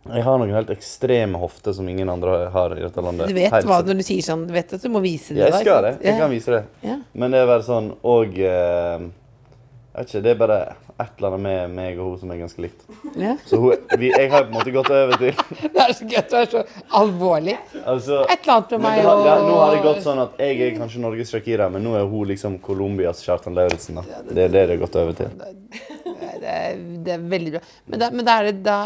E: jeg har noen helt ekstreme hofter som ingen andre har i dette landet.
D: Du vet
E: Helt
D: hva
E: sikkert.
D: når du sier sånn, du vet at du må vise det?
E: Ja,
D: da,
E: jeg
D: ikke
E: skal det.
D: sant?
E: Jeg
D: Ja.
E: kan vise det.
D: Ja.
E: Men det er bare sånn Og eh, jeg vet ikke, Det er bare et eller annet med meg og hun som er ganske likt.
D: Ja.
E: Så hun, vi, jeg har på en måte gått over
D: <laughs>
E: til <laughs>
D: Det er så gøy at du er så alvorlig.
E: altså,
D: Et eller annet med
E: Men
D: meg
E: det har- det har- Nå har det
D: og
E: gått sånn at jeg er kanskje Norges Shakira, men nå er hun liksom Colombias Kjartan Lauritzen. da. Det er det det har gått over til.
D: det, er, det er veldig bra. Men, da, men da er det da,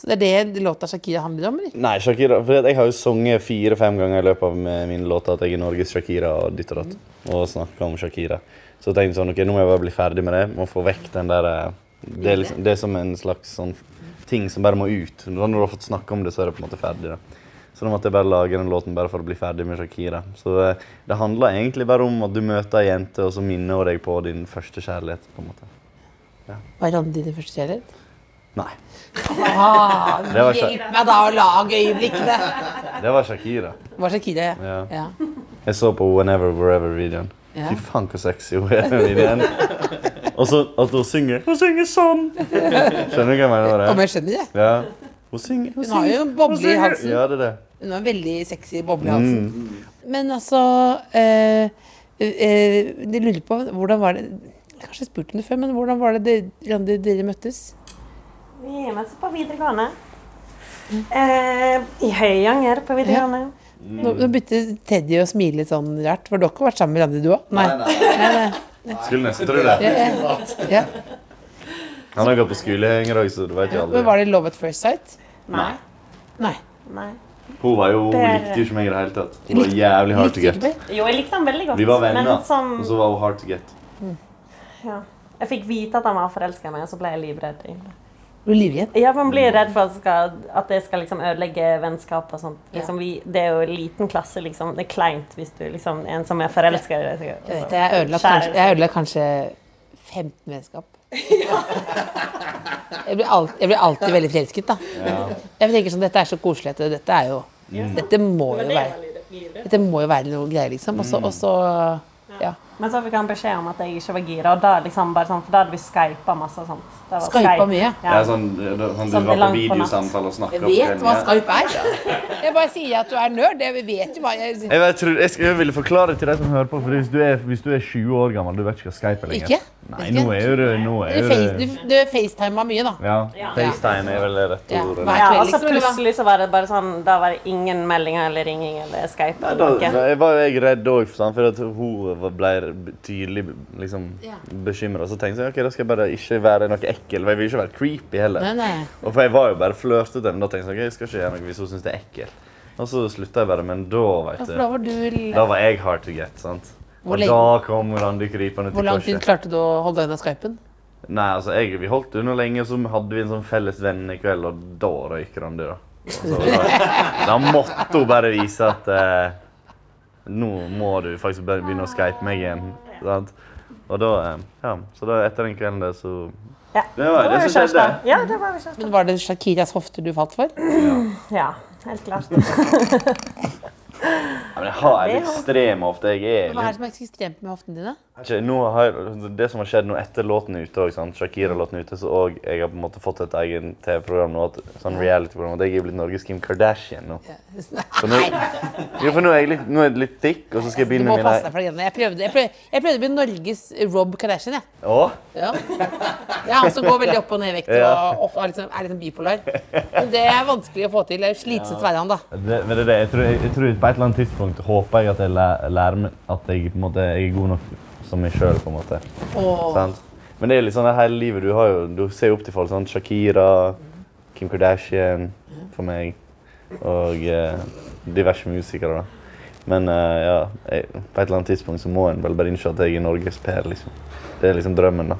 D: Så det er det låta Shakira handler om, eller?
E: Nei, Shakira, for jeg har jo sunget fire-fem ganger i løpet av med mine låter at jeg er Norges Shakira og ditt og datt, og snakket om Shakira. Så jeg tenkte sånn, ok, nå må jeg bare bli ferdig med det, må få vekk den der, eh, det er, liksom, det er som en slags sånn ting som bare må ut. Når du har fått snakke om det, så er det på en måte ferdig da. Så nå måtte jeg bare lage den låten bare for å bli ferdig med Shakira. Så eh, det handler egentlig bare om at du møter ei jente, og så minner hun deg på din første kjærlighet, på en måte.
D: Var Randi din første kjærlighet?
E: Nei,
D: Ah,
E: Det var
D: hjelp meg da å lage øyeblikkene!
E: det var Shakira.
D: Var Shakira, ja.
E: Ja.
D: ja.
E: Jeg så på Whenever Wherever-videoen.
D: Ja.
E: Fy faen, hvor sexy hun er i den videoen. Og så at hun synger Hun synger sånn! Skjønner du hva jeg mener?
D: Om
E: med det?
D: jeg skjønner det?
E: Ja. Hun synger
D: Hun har jo en boble i halsen.
E: Ja, Mm. det er det.
D: Hun har en veldig sexy boble i halsen. Men altså eh, eh, Jeg lurer på hvordan var det Jeg har kanskje spurt henne før, men hvordan var det dere- Randi, dere møttes?
I: Vi er mest på videregående. Eh, I Høyanger på videregående.
D: Nå,
E: Mm.
D: nå begynte Teddy å smile litt sånn rart. For dere har vært sammen med Randi, du òg? Nei. nei, nei.
E: Skulle nesten tro det.
D: Ja, ja.
E: Han har gått på skolehenger òg, så du vet ikke
D: Men
E: aldri.
D: var det love at first sight?
I: Nei.
D: Nei.
I: Nei.
E: Hun var jo, hun likte jo ikke meg i det hele tatt. Hun var jævlig hard to
D: Likte
E: get.
D: du meg?
I: Jo, jeg likte han veldig godt.
E: Vi var venner,
I: men som,
E: og så var hun hard to get.
I: ja. Jeg fikk vite at han var forelska i meg, og så ble jeg livredd. egentlig.
D: Du er livredd?
I: Ja, Man blir
D: Mm.
I: redd for at, skal, at det skal liksom ødelegge vennskap og sånt. Liksom, vi, det er jo en liten klasse, liksom. Det er kleint hvis du liksom er en som er forelska i deg. Altså, så-
D: Jeg vet det, jeg ødela kanskje, jeg ødela kanskje 15 <laughs> vennskap. Jeg blir, alt, jeg blir alltid veldig forelsket, da. Jeg tenker sånn, Dette er så koselig at dette er jo
E: Mm.
D: Dette må jo være Dette må jo være noe greier, liksom. Og
E: Mm.
D: så- Og så ja.
I: Men så fikk han beskjed om at jeg ikke var gira, og da liksom bare sånn, for da hadde vi skypa masse og sånt. Da var
D: Skypet
I: Skype-
D: mye?
I: Ja.
E: Ja, sånn, det- det- sånn,
I: Sånn
E: du var på
I: langt på natt.
E: videosamtale og snakka
D: Jeg vet hva Skype er. Jeg bare sier at du er nerd. Jeg vet jo hva jeg
E: Jeg, vet, tror- jeg, skal- jeg ville forklare til de som hører på, for hvis du er, hvis du er 20 år gammel, du vet ikke hva Skype er lenger.
D: Ikke?
E: Nei,
D: Ikke?
E: nå er jo det nå
D: Du,
E: er jo
D: face,
E: det-
D: du, du facetimer mye, da.
E: Ja. FaceTime er vel det rette
D: Ja.
E: ordet.
D: Hva er
I: Ja, og
D: kveld,
I: så
D: liksom, eller hva?
I: plutselig så var det bare sånn, da var det ingen meldinger eller ringing eller Skype.
E: Nei, da,
I: eller noe.
E: da jeg var jo jeg redd òg, for at hun var- ble tydelig liksom,
D: Ja.
E: bekymra. Så tenkte jeg ok, da skal jeg bare ikke være noe ekkel. for Jeg vil ikke være creepy heller.
D: Nei, nei.
E: Og for Jeg var jo bare flørtete, men da tenkte jeg ok, jeg skal ikke gjøre noe hvis hun syns det er ekkelt. Og så slutta jeg bare, men da
D: Ja,
E: vet
D: for da
E: du,
D: var du
E: da var jeg hard to get. sant?
D: Hvor
E: Og
D: lenge-
E: da kom Randi krypende
D: Hvor
E: til
D: lang tid
E: korset.
D: klarte du å holde deg unna skypen?
E: Nei, altså, jeg, Vi holdt unna lenge, og så hadde vi en sånn felles vennekveld, og da røyk Randi, da. Altså, da. Da måtte hun bare vise at eh, nå må du faktisk bare begynne å skype meg igjen. Sant? Og da, eh, ja, Så da etter den kvelden der, så
I: Ja.
E: Det var
I: Da
E: det
I: vi
E: som skjedde.
I: kjærester. Ja, det var vi
D: <laughs>
I: kjærester.
D: Men Var det Shakiras hofter du falt for?
I: Ja, helt klart.
E: Ja, men jeg har en
D: Det har-
E: ekstrem hofte. Jeg
D: Hva er
E: er
D: det
E: litt...
D: som er så ekstremt med hoftene dine?
E: Ikke, nå har jeg, det som har skjedd nå etter låten er ute, også, sant? Shakira-låten er ute, så og jeg har på en måte fått et egen TV-program nå, at, sånn reality-program, at jeg er blitt Norges Kim Kardashian nå. Så nå jo, for nå er jeg litt, nå er jeg litt thick, og så skal jeg
D: Du
E: begynne
D: må
E: med
D: passe deg for de greiene. Jeg prøvde, jeg, prøvde, jeg prøvde å bli Norges Rob Kardashian, jeg.
E: Å?
D: Ja. Det er han som går veldig opp og ned i vekt
E: Ja.
D: og ofte er litt, sånn- er litt sånn bipolar. Men det er vanskelig å få til. Det er slitsomt å være han, da.
E: Det, men det, er det, jeg, tror, jeg, jeg tror på et eller annet tidspunkt håper jeg at jeg læ- lærer meg at jeg, på en måte, jeg er god nok som meg sjøl, på en måte.
D: Åh.
E: Sant? Men det er litt sånn det hele livet. Du, har jo, du ser jo opp til folk. Sant? Shakira, Kim Kardashian for meg. Og eh, diverse musikere, da. Men eh, ja, jeg, på et eller annet tidspunkt så må en vel bare innse at jeg er Norges Per, liksom. Det er liksom drømmen, da.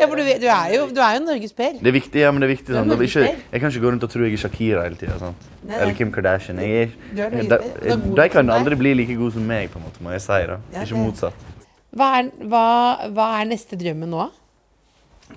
D: Ja, for du, vet- du, er jo, du er jo Norges Per.
E: Det er viktig, ja, men det er viktig.
D: Du er
E: Sånn. Det er
D: Norges
E: ikke,
D: Per.
E: jeg kan ikke gå rundt og tro jeg er Shakira hele tida.
D: Nei, nei.
E: Eller Kim Kardashian. Jeg
D: Du er
E: er,
D: Norges
E: de,
D: Per. Du er god
E: de eh, kan
D: nok.
E: aldri bli like gode som meg, på en måte, må jeg si. da.
D: Ja, det-
E: Ikke motsatt.
D: Hva er, hva, hva er neste drømmen nå?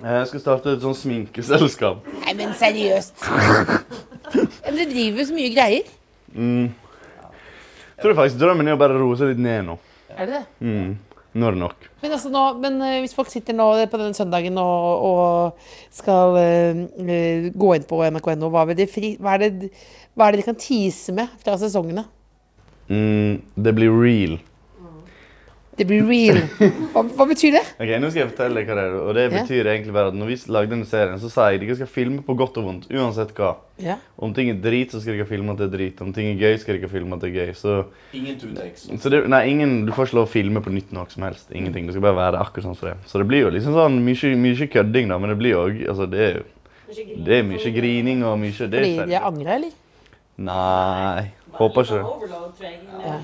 E: Jeg skal starte et sånn sminkeselskap.
D: Nei, men seriøst. <laughs> Ja, Men Dere driver jo så mye greier.
E: Mm. Jeg tror faktisk drømmen er å bare roe seg litt ned nå.
D: Er det det?
E: Mm. Nå er det nok.
D: Men, altså nå, men eh, hvis folk sitter nå på denne søndagen og, og skal eh, eh, gå inn på nrk.no, hva, vil de fri- hva, er det- hva er det de kan tease med fra sesongene?
E: Mm, det blir real.
D: Det blir <laughs> real. Hva, hva betyr det?
E: Ok, Nå skal jeg fortelle deg hva det er. Og det
D: Ja.
E: betyr egentlig bare at når vi lagde denne serien, så sa jeg at dere skal filme på godt og vondt. Uansett hva.
D: Ja.
E: Om ting er drit, så skal dere filme at det er drit. Om ting er gøy, skal dere filme at det er gøy. Så,
G: Ingen two takes.
E: så det, nei, ingen, du får ikke lov å filme på nytt noe som helst. Ingenting. Det skal bare være akkurat sånn som det er. Så det blir jo liksom sånn mye, mye kødding, da, men det blir jo òg altså, det, er jo- det er mye grining og mye det
D: Fordi
E: er
D: de
E: ferdig.
D: angrer, eller?
E: Nei, håper ikke det.
I: Overload, tror jeg.
D: Ja.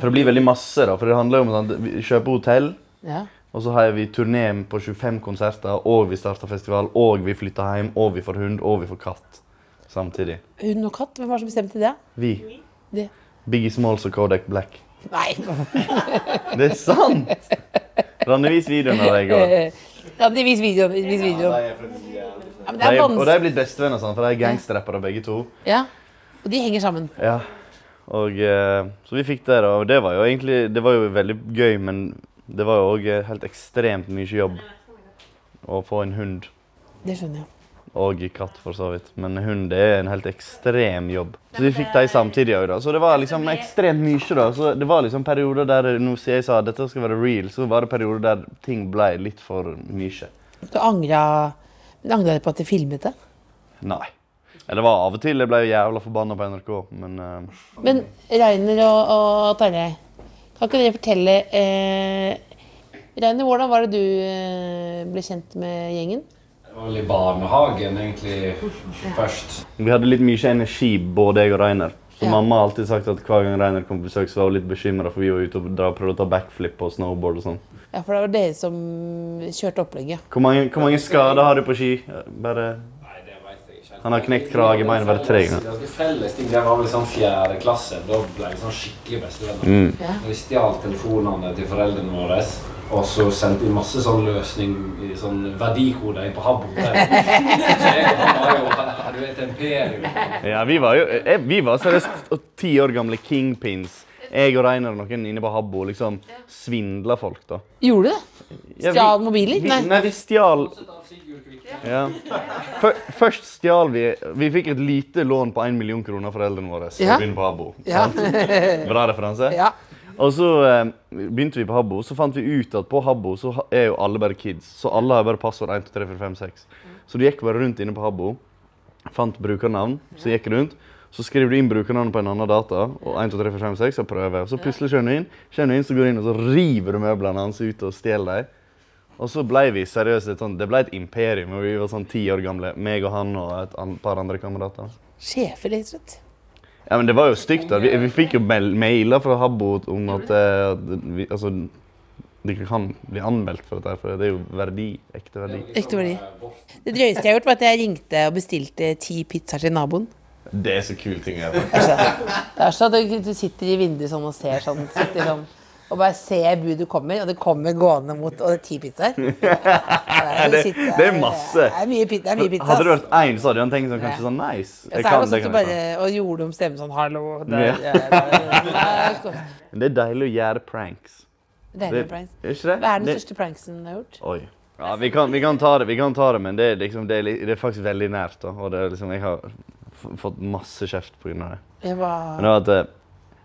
E: For det blir veldig masse, da. For det handler jo om sånn, vi kjøper hotell,
D: Ja.
E: og så har vi turné på 25 konserter, og vi starter festival, og vi flytter hjem, og vi får hund, og vi får katt. Samtidig.
D: Hund og katt, hvem var det som bestemte det?
E: Vi.
D: Det.
E: Biggie Smalls og Kodak Black.
D: Nei.
E: Det er sant! Ranne, vis videoen av deg i går.
D: Eh, Ja, de vis videoen. de Vis videoen. Ja, men det
E: De-
D: er
E: Og de
D: vanskelig.
E: er blitt bestevenner, sånn, for de er gangsterrappere begge to.
D: Ja. Og de henger sammen.
E: Ja. Og eh, Så vi fikk det, da. Og det var jo egentlig det var jo veldig gøy, men det var jo òg helt ekstremt mye jobb å få en hund.
D: Det skjønner jeg.
E: Og katt, for så vidt. Men hund det er en helt ekstrem jobb. Så vi fikk de samtidig òg, da. Så det var liksom ekstremt mye, da. Så det var liksom perioder der nå siden jeg sa at dette skal være real, så var det perioder der ting ble litt for mye.
D: Du angra Men angra dere på at de filmet det?
E: Nei. Ja, Det var av og til jeg ble jævla forbanna på NRK, men eh,
D: Men Reiner og, og Tarjei, kan ikke dere fortelle eh, Reiner, hvordan var det du eh, ble kjent med gjengen?
H: Det var vel i barnehagen egentlig først.
E: Vi hadde litt mye energi, både jeg og Reiner. Så
D: Ja.
E: Mamma har alltid sagt at hver gang Reiner kom på besøk, så var hun litt bekymra, for vi var ute og dra, prøvde å ta backflip og snowboard og sånn.
D: Ja, For det var dere som kjørte opplegget.
E: Hvor mange, hvor mange skader har du på ski? Bare Han har knekt kragebeinet bare tre ganger.
H: Ganske felles ting. Det var vel sånn fjerde klasse. Da ble vi sånn skikkelig bestevenner.
E: Mm.
D: Ja.
H: Vi stjal telefonene til foreldrene våre. Og så sendte vi masse sånn løsning i sånn verdikode på Habbo. Så jeg og han var jo, hadde jo et imperium.
E: Ja, vi var jo eh, Vi var seriøst ti år gamle kingpins. Jeg og Reiner og noen inne på Habbo liksom svindla folk, da.
D: Gjorde du det?
E: Ja, vi-
D: Stjal mobiler?
E: Vi,
D: Nei.
E: nei, vi stjal ja. Fø- Først stjal vi Vi fikk et lite lån på 1 million kroner av foreldrene våre. for
D: Ja.
E: å begynne på Habbo.
D: Ja.
E: Bra referanse.
D: ja.
E: Og så eh, begynte vi på Habbo, så fant vi ut at på Habbo så ha- er jo alle bare kids. Så alle har bare passord 1, 2, 3, 4, 5, 6. Så du gikk bare rundt inne på Habbo, fant brukernavn, så gikk du rundt. Så skriver du inn brukernavnet på en annen data, og 1, 2, 3, 4, 5, 6, og prøver. Så plutselig skjønner du inn, skjønner du inn, så går du inn og så river du møblene hans ut og stjeler dem. Og så ble vi seriøst litt sånn, det ble et imperium, og vi var sånn ti år gamle, meg og han og et an par andre kamerater.
D: Sjefer, rett og slett.
E: Ja, men Det var jo stygt. da. Vi, vi fikk jo mel- mailer fra Habbo om at eh, vi, altså, dere kan bli anmeldt for dette, her, for det er jo verdi, ekte verdi.
D: Ekte verdi. Det drøyeste jeg har gjort, var at jeg ringte og bestilte ti pizzaer til naboen.
E: Det <laughs> er så kul ting å gjøre.
D: Det er sånn at du- du sitter i vinduet sånn og ser sånn. Sitter sånn. og bare ser budet kommer, og det kommer gående mot Og det er ti pizzaer.
E: Ja,
D: det
E: <laughs> det,
D: sitter-
E: det <laughs> er masse.
D: Det er mye pizza. Det er mye pizza
E: Hadde det
D: ass.
E: vært én, så hadde han tenkt sånn, kanskje
D: Ja.
E: sånn nice.
D: Og
E: Jeg
D: så er det
E: kan, sånn.
D: også
E: det
D: at du
E: kan jeg
D: bare og gjorde om stemmen sånn Hallo. Der,
E: Ja.
D: ja, der,
E: <laughs>
D: der.
E: ta. Men Det er deilig å gjøre pranks.
D: Det er
E: Det-
D: noe pranks.
E: er ikke det?
D: Hva er den
E: Det-
D: største pranksen du har gjort?
E: Oi. Ja, vi kan, vi kan ta det, vi kan ta det, men det er, liksom, det er, li- det er faktisk veldig nært. Da. Og det er liksom, jeg har f- fått masse kjeft pga. det.
D: Jeg
E: Men det
D: var
E: var at eh,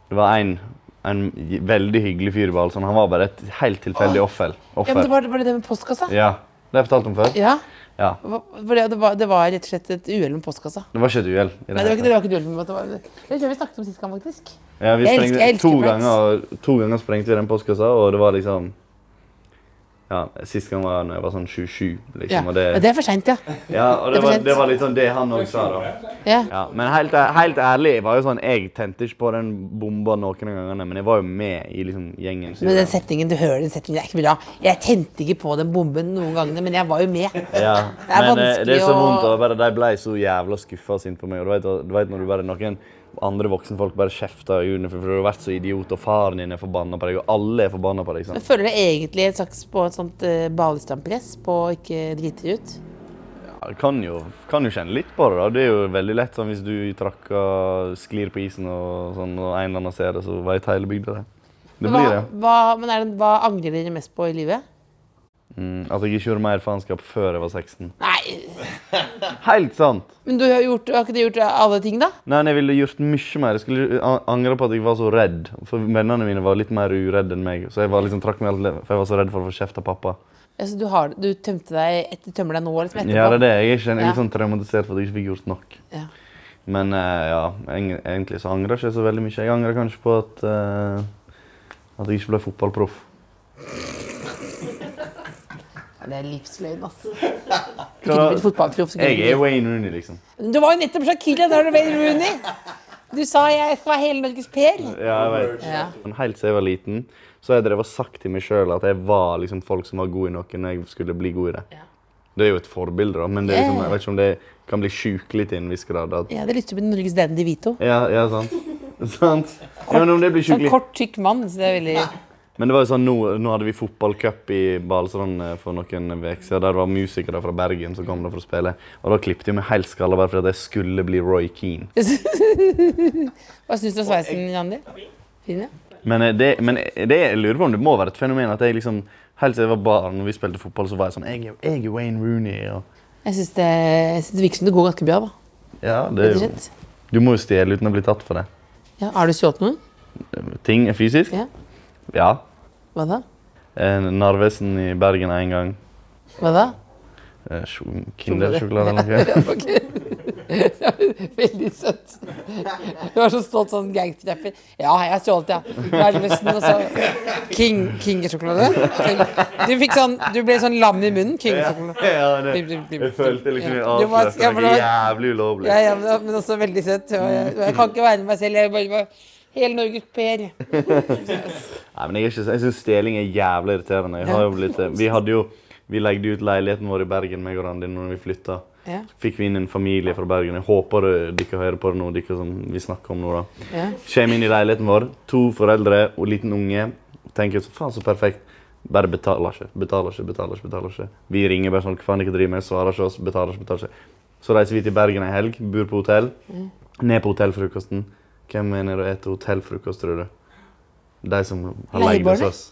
E: det var en, en j- veldig hyggelig fyr på Alsand. Han var bare et helt tilfeldig offer.
D: ja, men det
E: offer.
D: var, var det det med postkassa?
E: Ja, det har jeg fortalt om før.
D: Ja.
E: Ja.
D: Hva- For det, det, var, det var rett og slett et uhell med postkassa.
E: Det var ikke et uhell. i
D: Nei, det var
E: hele
D: ikke
E: tatt.
D: det var ikke et uhell med det var- Det tror jeg vi snakket om sist gang, faktisk.
E: Ja, vi
D: Jeg elsker-
E: sprengte,
D: jeg elsker
E: to,
D: pranks.
E: ganger, to ganger sprengte vi den postkassa, og det var liksom ja, Sist gang var da jeg var sånn 27, liksom.
D: Ja.
E: Og det,
D: Ja, det er for seint, ja.
E: ja, og
D: det er for
E: det, var,
D: sent.
E: det var litt sånn det han òg sa, da.
D: ja.
E: Ja, men helt, helt ærlig, jeg var jo sånn, jeg tente ikke på den bomba noen av gangene, men jeg var jo med i liksom gjengen. så-
D: Men den setningen, du hører den setningen, det er ikke bra. Jeg tente ikke på den bomben noen gangene, men jeg var jo med.
E: Ja,
D: <laughs> Det er
E: men eh, det er
D: vanskelig
E: så
D: å-
E: vondt, og bare de ble så jævla skuffa og sinte på meg. Og du vet, du vet når du bare noen andre voksenfolk bare kjefter i øynene for for du har vært så idiot, og faren din er forbanna på deg, og alle er forbanna på deg. sånn.
D: Men
E: sant?
D: føler du egentlig et slags på et sånt eh, Balestrand-press på å ikke drite deg ut?
E: Ja, du kan, jo, kan jo kjenne litt på det, da. Det er jo veldig lett sånn hvis du trakker, sklir på isen og sånn, og en eller annen ser det, så veit hele bygda det. Det
D: hva,
E: blir det.
D: Hva, men er det, hva angrer dere mest på i livet?
E: Mm, at jeg ikke gjorde mer faenskap før jeg var 16.
D: Nei,
E: Helt sant!
D: men du har, gjort, har ikke du gjort alle ting, da?
E: Nei, men jeg ville gjort mye mer. Jeg skulle an- angre på at jeg var så redd. For Vennene mine var litt mer uredde enn meg. Så jeg var liksom trakk meg alt le- For jeg var så redd for å få kjeft av pappa.
D: Altså, du, har, du tømte deg et- du tømmer deg nå, liksom, etterpå?
E: Ja, det er det. Jeg er, ikke, jeg er litt
D: Ja.
E: sånn traumatisert for at jeg ikke fikk gjort nok.
D: Ja.
E: Men eh, ja, eng- egentlig så angrer jeg ikke så veldig mye. Jeg angrer kanskje på at, eh, at jeg ikke ble fotballproff.
D: Ja, det er livsløgn, <laughs> altså. Du kunne blitt
E: Jeg
D: fotballproff. så kunne du
E: er Wayne Rooney, liksom.
D: blitt- Du var jo nettopp Shakira da du ble Rooney! Du sa 'jeg skal være hele Norges Per'.
E: Ja, jeg vet.
D: Ja.
E: Men Helt siden jeg var liten, så har jeg drevet og sagt til meg sjøl at jeg var liksom folk som var gode i noe når jeg skulle bli god i det. Det er jo et forbilde, da, men det er liksom, jeg vet ikke om det kan bli sjukelig til en viss grad. At,
D: Ja, det lytter til Norges Dan DeVito.
E: ja, ja, sant. <laughs> sant? Ja, men om det blir
D: En
E: sjukelig.
D: kort, tykk mann. så det er veldig...
E: <laughs> Men det var jo sånn, nå, nå hadde vi fotballcup i Balestrand eh, for noen uker siden. Der var musikere fra Bergen som kom der for å spille. Og da klippet jeg meg helt skalla bare fordi at jeg skulle bli Roy Keane.
D: Hva syns du om sveisen, Randi? Fin, ja.
E: Men, eh, det, men eh, det, jeg lurer på om det må være et fenomen at jeg liksom Helt siden jeg var barn og vi spilte fotball, så var jeg sånn Jeg, er- jeg er Wayne Rooney. Og,
D: Jeg syns det, jeg synes det virker som det går ganske bra. da.
E: ja, det,
D: rett og
E: er jo-
D: slett.
E: du må jo stjele uten å bli tatt for det.
D: Ja, har du stjålet noen?
E: Ting er fysisk.
D: Ja.
E: ja.
D: Hva da?
E: Eh, Narvesen i Bergen en gang.
D: Hva da?
E: Eh, sjo- Kindersjokolade eller noe.
D: <laughs> Veldig søtt. Du var så stolt sånn gangsterrapper. Ja, jeg har stjålet, ja. Narvesen og så King, Kingersjokolade. Du fikk sånn, du ble sånn lam i munnen. Kingersjokolade.
E: <laughs> Ja, det,
D: Blim, blim, blim,
E: jeg følte liksom jeg
D: Ja. Du var-
E: avslørte
D: ja, for
E: noe
D: det var-
E: jævlig ulovlig.
D: Ja, ja, men men også veldig søtt. Og jeg, og jeg kan ikke være meg selv. Jeg er bare, bare hele Norges Per.
E: Nei, men jeg, er ikke så- jeg syns stjeling er jævlig irriterende. Jeg har jo blitt, eh, vi hadde jo, vi legde ut leiligheten vår i Bergen meg og Randi når vi flytta.
D: Ja.
E: Fikk vi inn en familie fra Bergen. Jeg håper eh, dere hører på det nå. dere som vi snakker om nå da.
D: Ja.
E: Kjem inn i leiligheten vår, to foreldre og liten unge. Tenker så faen så perfekt. Bare betaler ikke, betaler ikke, betaler ikke. betaler ikke. Vi ringer bare sånn, hva faen dere driver med, svarer ikke oss, betaler ikke, betaler ikke. Så reiser vi til Bergen ei helg, bor på hotell.
D: Mm.
E: Ned på hotellfrokosten. Hvem er nede og eter hotellfrokost, tror du? De som har leid hos
D: Leieboerne?
E: oss.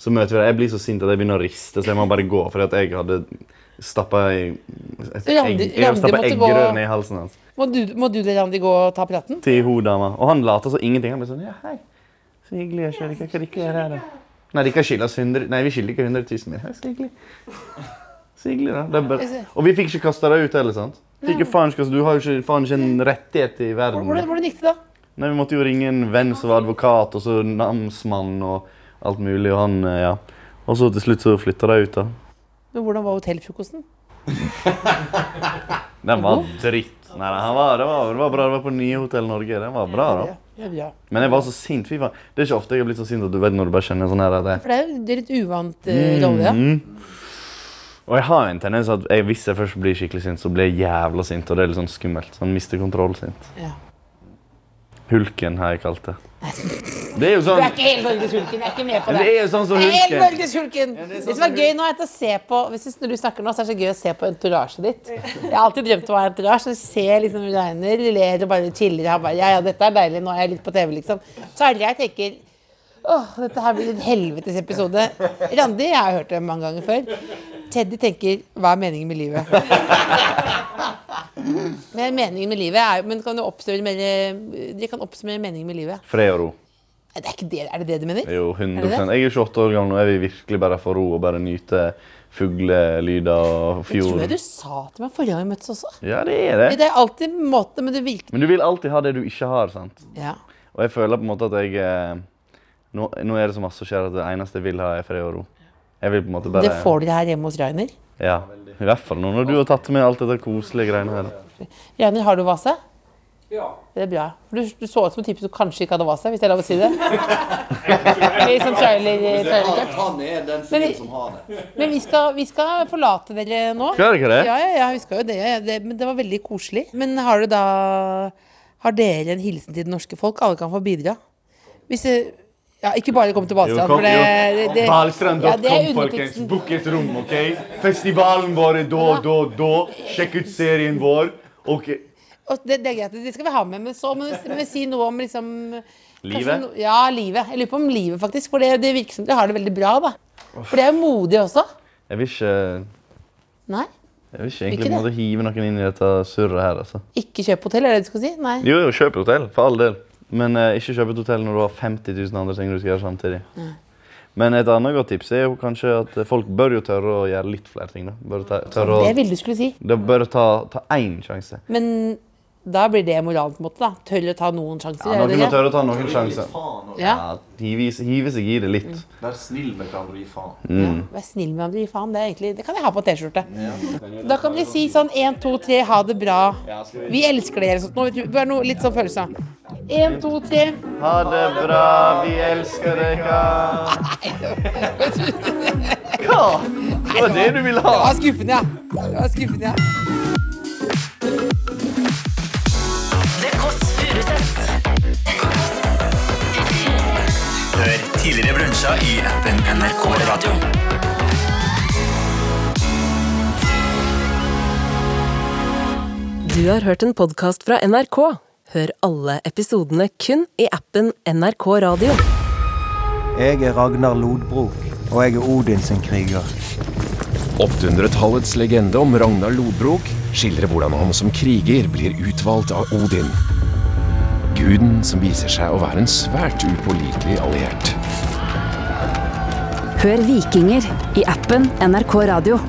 E: Så møter vi dem. Jeg blir så sint at jeg begynner å riste, så jeg må bare gå. Fordi at jeg hadde stappa ei-
D: Randi-
E: et egg- jeg hadde
D: Randi
E: stappa
D: måtte gå-
E: eggerør ned i halsen hans.
D: Må du, må du Randi, gå og ta praten?
E: Til hun dama. Og han later så ingenting. Han blir sånn Ja, hei. Så hyggelig. Jeg skjønner ikke hva dere gjør her. da. Nei, dere skylder oss 100 Nei, vi skylder ikke 100 000 mer. Ja, Så hyggelig. Så hyggelig, da. Det er bare... Og vi fikk ikke kasta det ut heller, sant? Fikk jo faen ikke, altså, Du har jo ikke, faen ikke en rettighet i verden.
D: Hvordan, hvordan gikk det, da?
E: Nei, Vi måtte jo ringe en venn som var advokat, og så namsmann og alt mulig. Og han, eh, ja. Og så til slutt så flytta de ut, da.
D: Men hvordan var hotellfrokosten?
E: Den var dritt. Nei, nei, han var, det, var, det var bra. Det var på nye Hotell Norge. Den var bra, da.
D: Det er bra.
E: Men jeg var så sint. Fy faen. Det er ikke ofte jeg har blitt så sint at du vet når du bare kjenner sånn her at jeg,
D: For det er jo det er litt uvant eh,
E: Mm.
D: rolle, ja.
E: Og jeg har jo en tendens at jeg, hvis jeg først blir skikkelig sint, så blir jeg jævla sint. Og det er litt sånn skummelt. Sånn mister kontroll-sint.
D: Ja. <laughs>
E: Hulken har jeg kalt det. Det er jo
D: Du er
E: sånn
D: ikke helbølgesulken. Jeg er ikke med på
E: Men
D: det.
E: det er jo sånn som
D: Jeg er
E: hulken.
D: helbølgesulken. det som er gøy nå, er at å se på hvis du- Når du snakker nå, så er det så gøy å se på entouraget ditt. Jeg har alltid drømt om å ha entourage. Så ser liksom Reiner ler og bare chiller. Han bare Ja, ja, dette er deilig. Nå er jeg litt på TV, liksom. Tarjei tenker Åh, dette her blir en helvetes episode. Randi jeg har hørt det mange ganger før. Teddy tenker Hva er meningen med livet? Men meningen med livet er jo Men kan du oppsummere mer- dere kan oppsummere meningen med livet?
E: fred og ro.
D: Nei, Det er, ikke det, er det det du mener?
E: Det er jo
D: Er det
E: 100
D: det?
E: Jeg er jo 28 år gammel nå. Jeg vil virkelig bare få ro og bare nyte fuglelyder
D: Det tror
E: og
D: jeg
E: fjorden.
D: du sa til meg forrige gang vi møttes også.
E: Ja, det er det.
D: Det er alltid en måte, men du virker
E: Men du vil alltid ha det du ikke har, sant?
D: Ja.
E: Og jeg føler på en måte at jeg eh, Nå, nå er det så masse som skjer at det eneste jeg vil ha, er fred og ro. Jeg vil på en måte bare
D: Det får dere her hjemme hos Rainer.
E: Ja. I hvert fall nå når du har tatt med alt dette koselige greiene her.
D: Rainer, har du vase?
H: Ja.
D: Det er bra. For du, du så ut som en type som kanskje ikke hadde vase, hvis det er lov å si det. I sånn trailer, trailercup.
K: Han er den fyren som har det.
D: Men vi skal, vi skal forlate dere nå.
K: Skal dere det?
D: Ja, ja, ja, vi skal jo det, ja, ja. det. Men det var veldig koselig. Men har du da Har dere en hilsen til det norske folk? Alle kan få bidra. Hvis det, ja, ikke bare kom til Balstrand, for det, det, det ja, det er
E: Balstrand.com, folkens.
D: underteksten.
E: Book et rom, OK? Festivalen vår er da, da, da. Sjekk ut serien vår. Og
D: Og det, det er greit, det skal vi ha med, men så må vi, må vi si noe om liksom kanskje
E: Livet?
D: no- ja, livet. Jeg lurer på om livet, faktisk. For det, det virker som dere har det veldig bra, da. For det er jo modig også.
E: Jeg vil ikke
D: Nei?
E: Jeg vil ikke
D: Ikke
E: egentlig på en
D: det?
E: måte hive noen inn i dette surret her, altså.
D: Ikke kjøp hotell, er det det du skulle si? Nei.
E: Jo, jo, kjøp et hotell, for all del. Men eh, ikke kjøp et hotell når du har 50 000 andre ting du skal gjøre samtidig.
D: Nei.
E: Men et annet godt tips er jo kanskje at folk bør jo tørre å gjøre litt flere ting. da. Bør ta, tørre å...
D: Det ville du skulle si.
E: De bør ta, ta én sjanse.
D: Men da blir det moralen, på en måte. da. Tørre å ta noen sjanser.
E: Ja,
D: er
E: noen
D: det
E: må
D: det?
E: tørre å ta noen sjanser.
D: Ja.
E: Hive, i- hive seg i det litt.
G: altså. Vær snill med hverandre, gi faen.
E: Mm.
D: Vær snill med andre, gi faen. Det, er egentlig, det kan jeg ha på T-skjorte.
G: Ja.
D: Da kan dere si sånn én, to, tre, ha det bra.
G: Ja, skal vi-
D: Vi elsker dere. Sånn. Nå, vet du, det er noe, litt sånn følelse. Én, to, tre.
E: Ha det bra, vi elsker dere. Hva? Det var det du ville ha?
D: Det var skuffende, ja. Det var skuffende, ja.
B: Det Kåss Furuseths.
C: Hør tidligere brunsja i appen NRK Radio.
A: Du har hørt en podkast fra NRK. Hør alle episodene kun i appen NRK Radio.
L: Jeg er Ragnar Lodbrok, og jeg er Odin sin kriger.
M: 800-tallets legende om Ragnar Lodbrok skildrer hvordan han som kriger blir utvalgt av Odin. Guden som viser seg å være en svært upålitelig alliert.
N: Hør Vikinger i appen NRK Radio.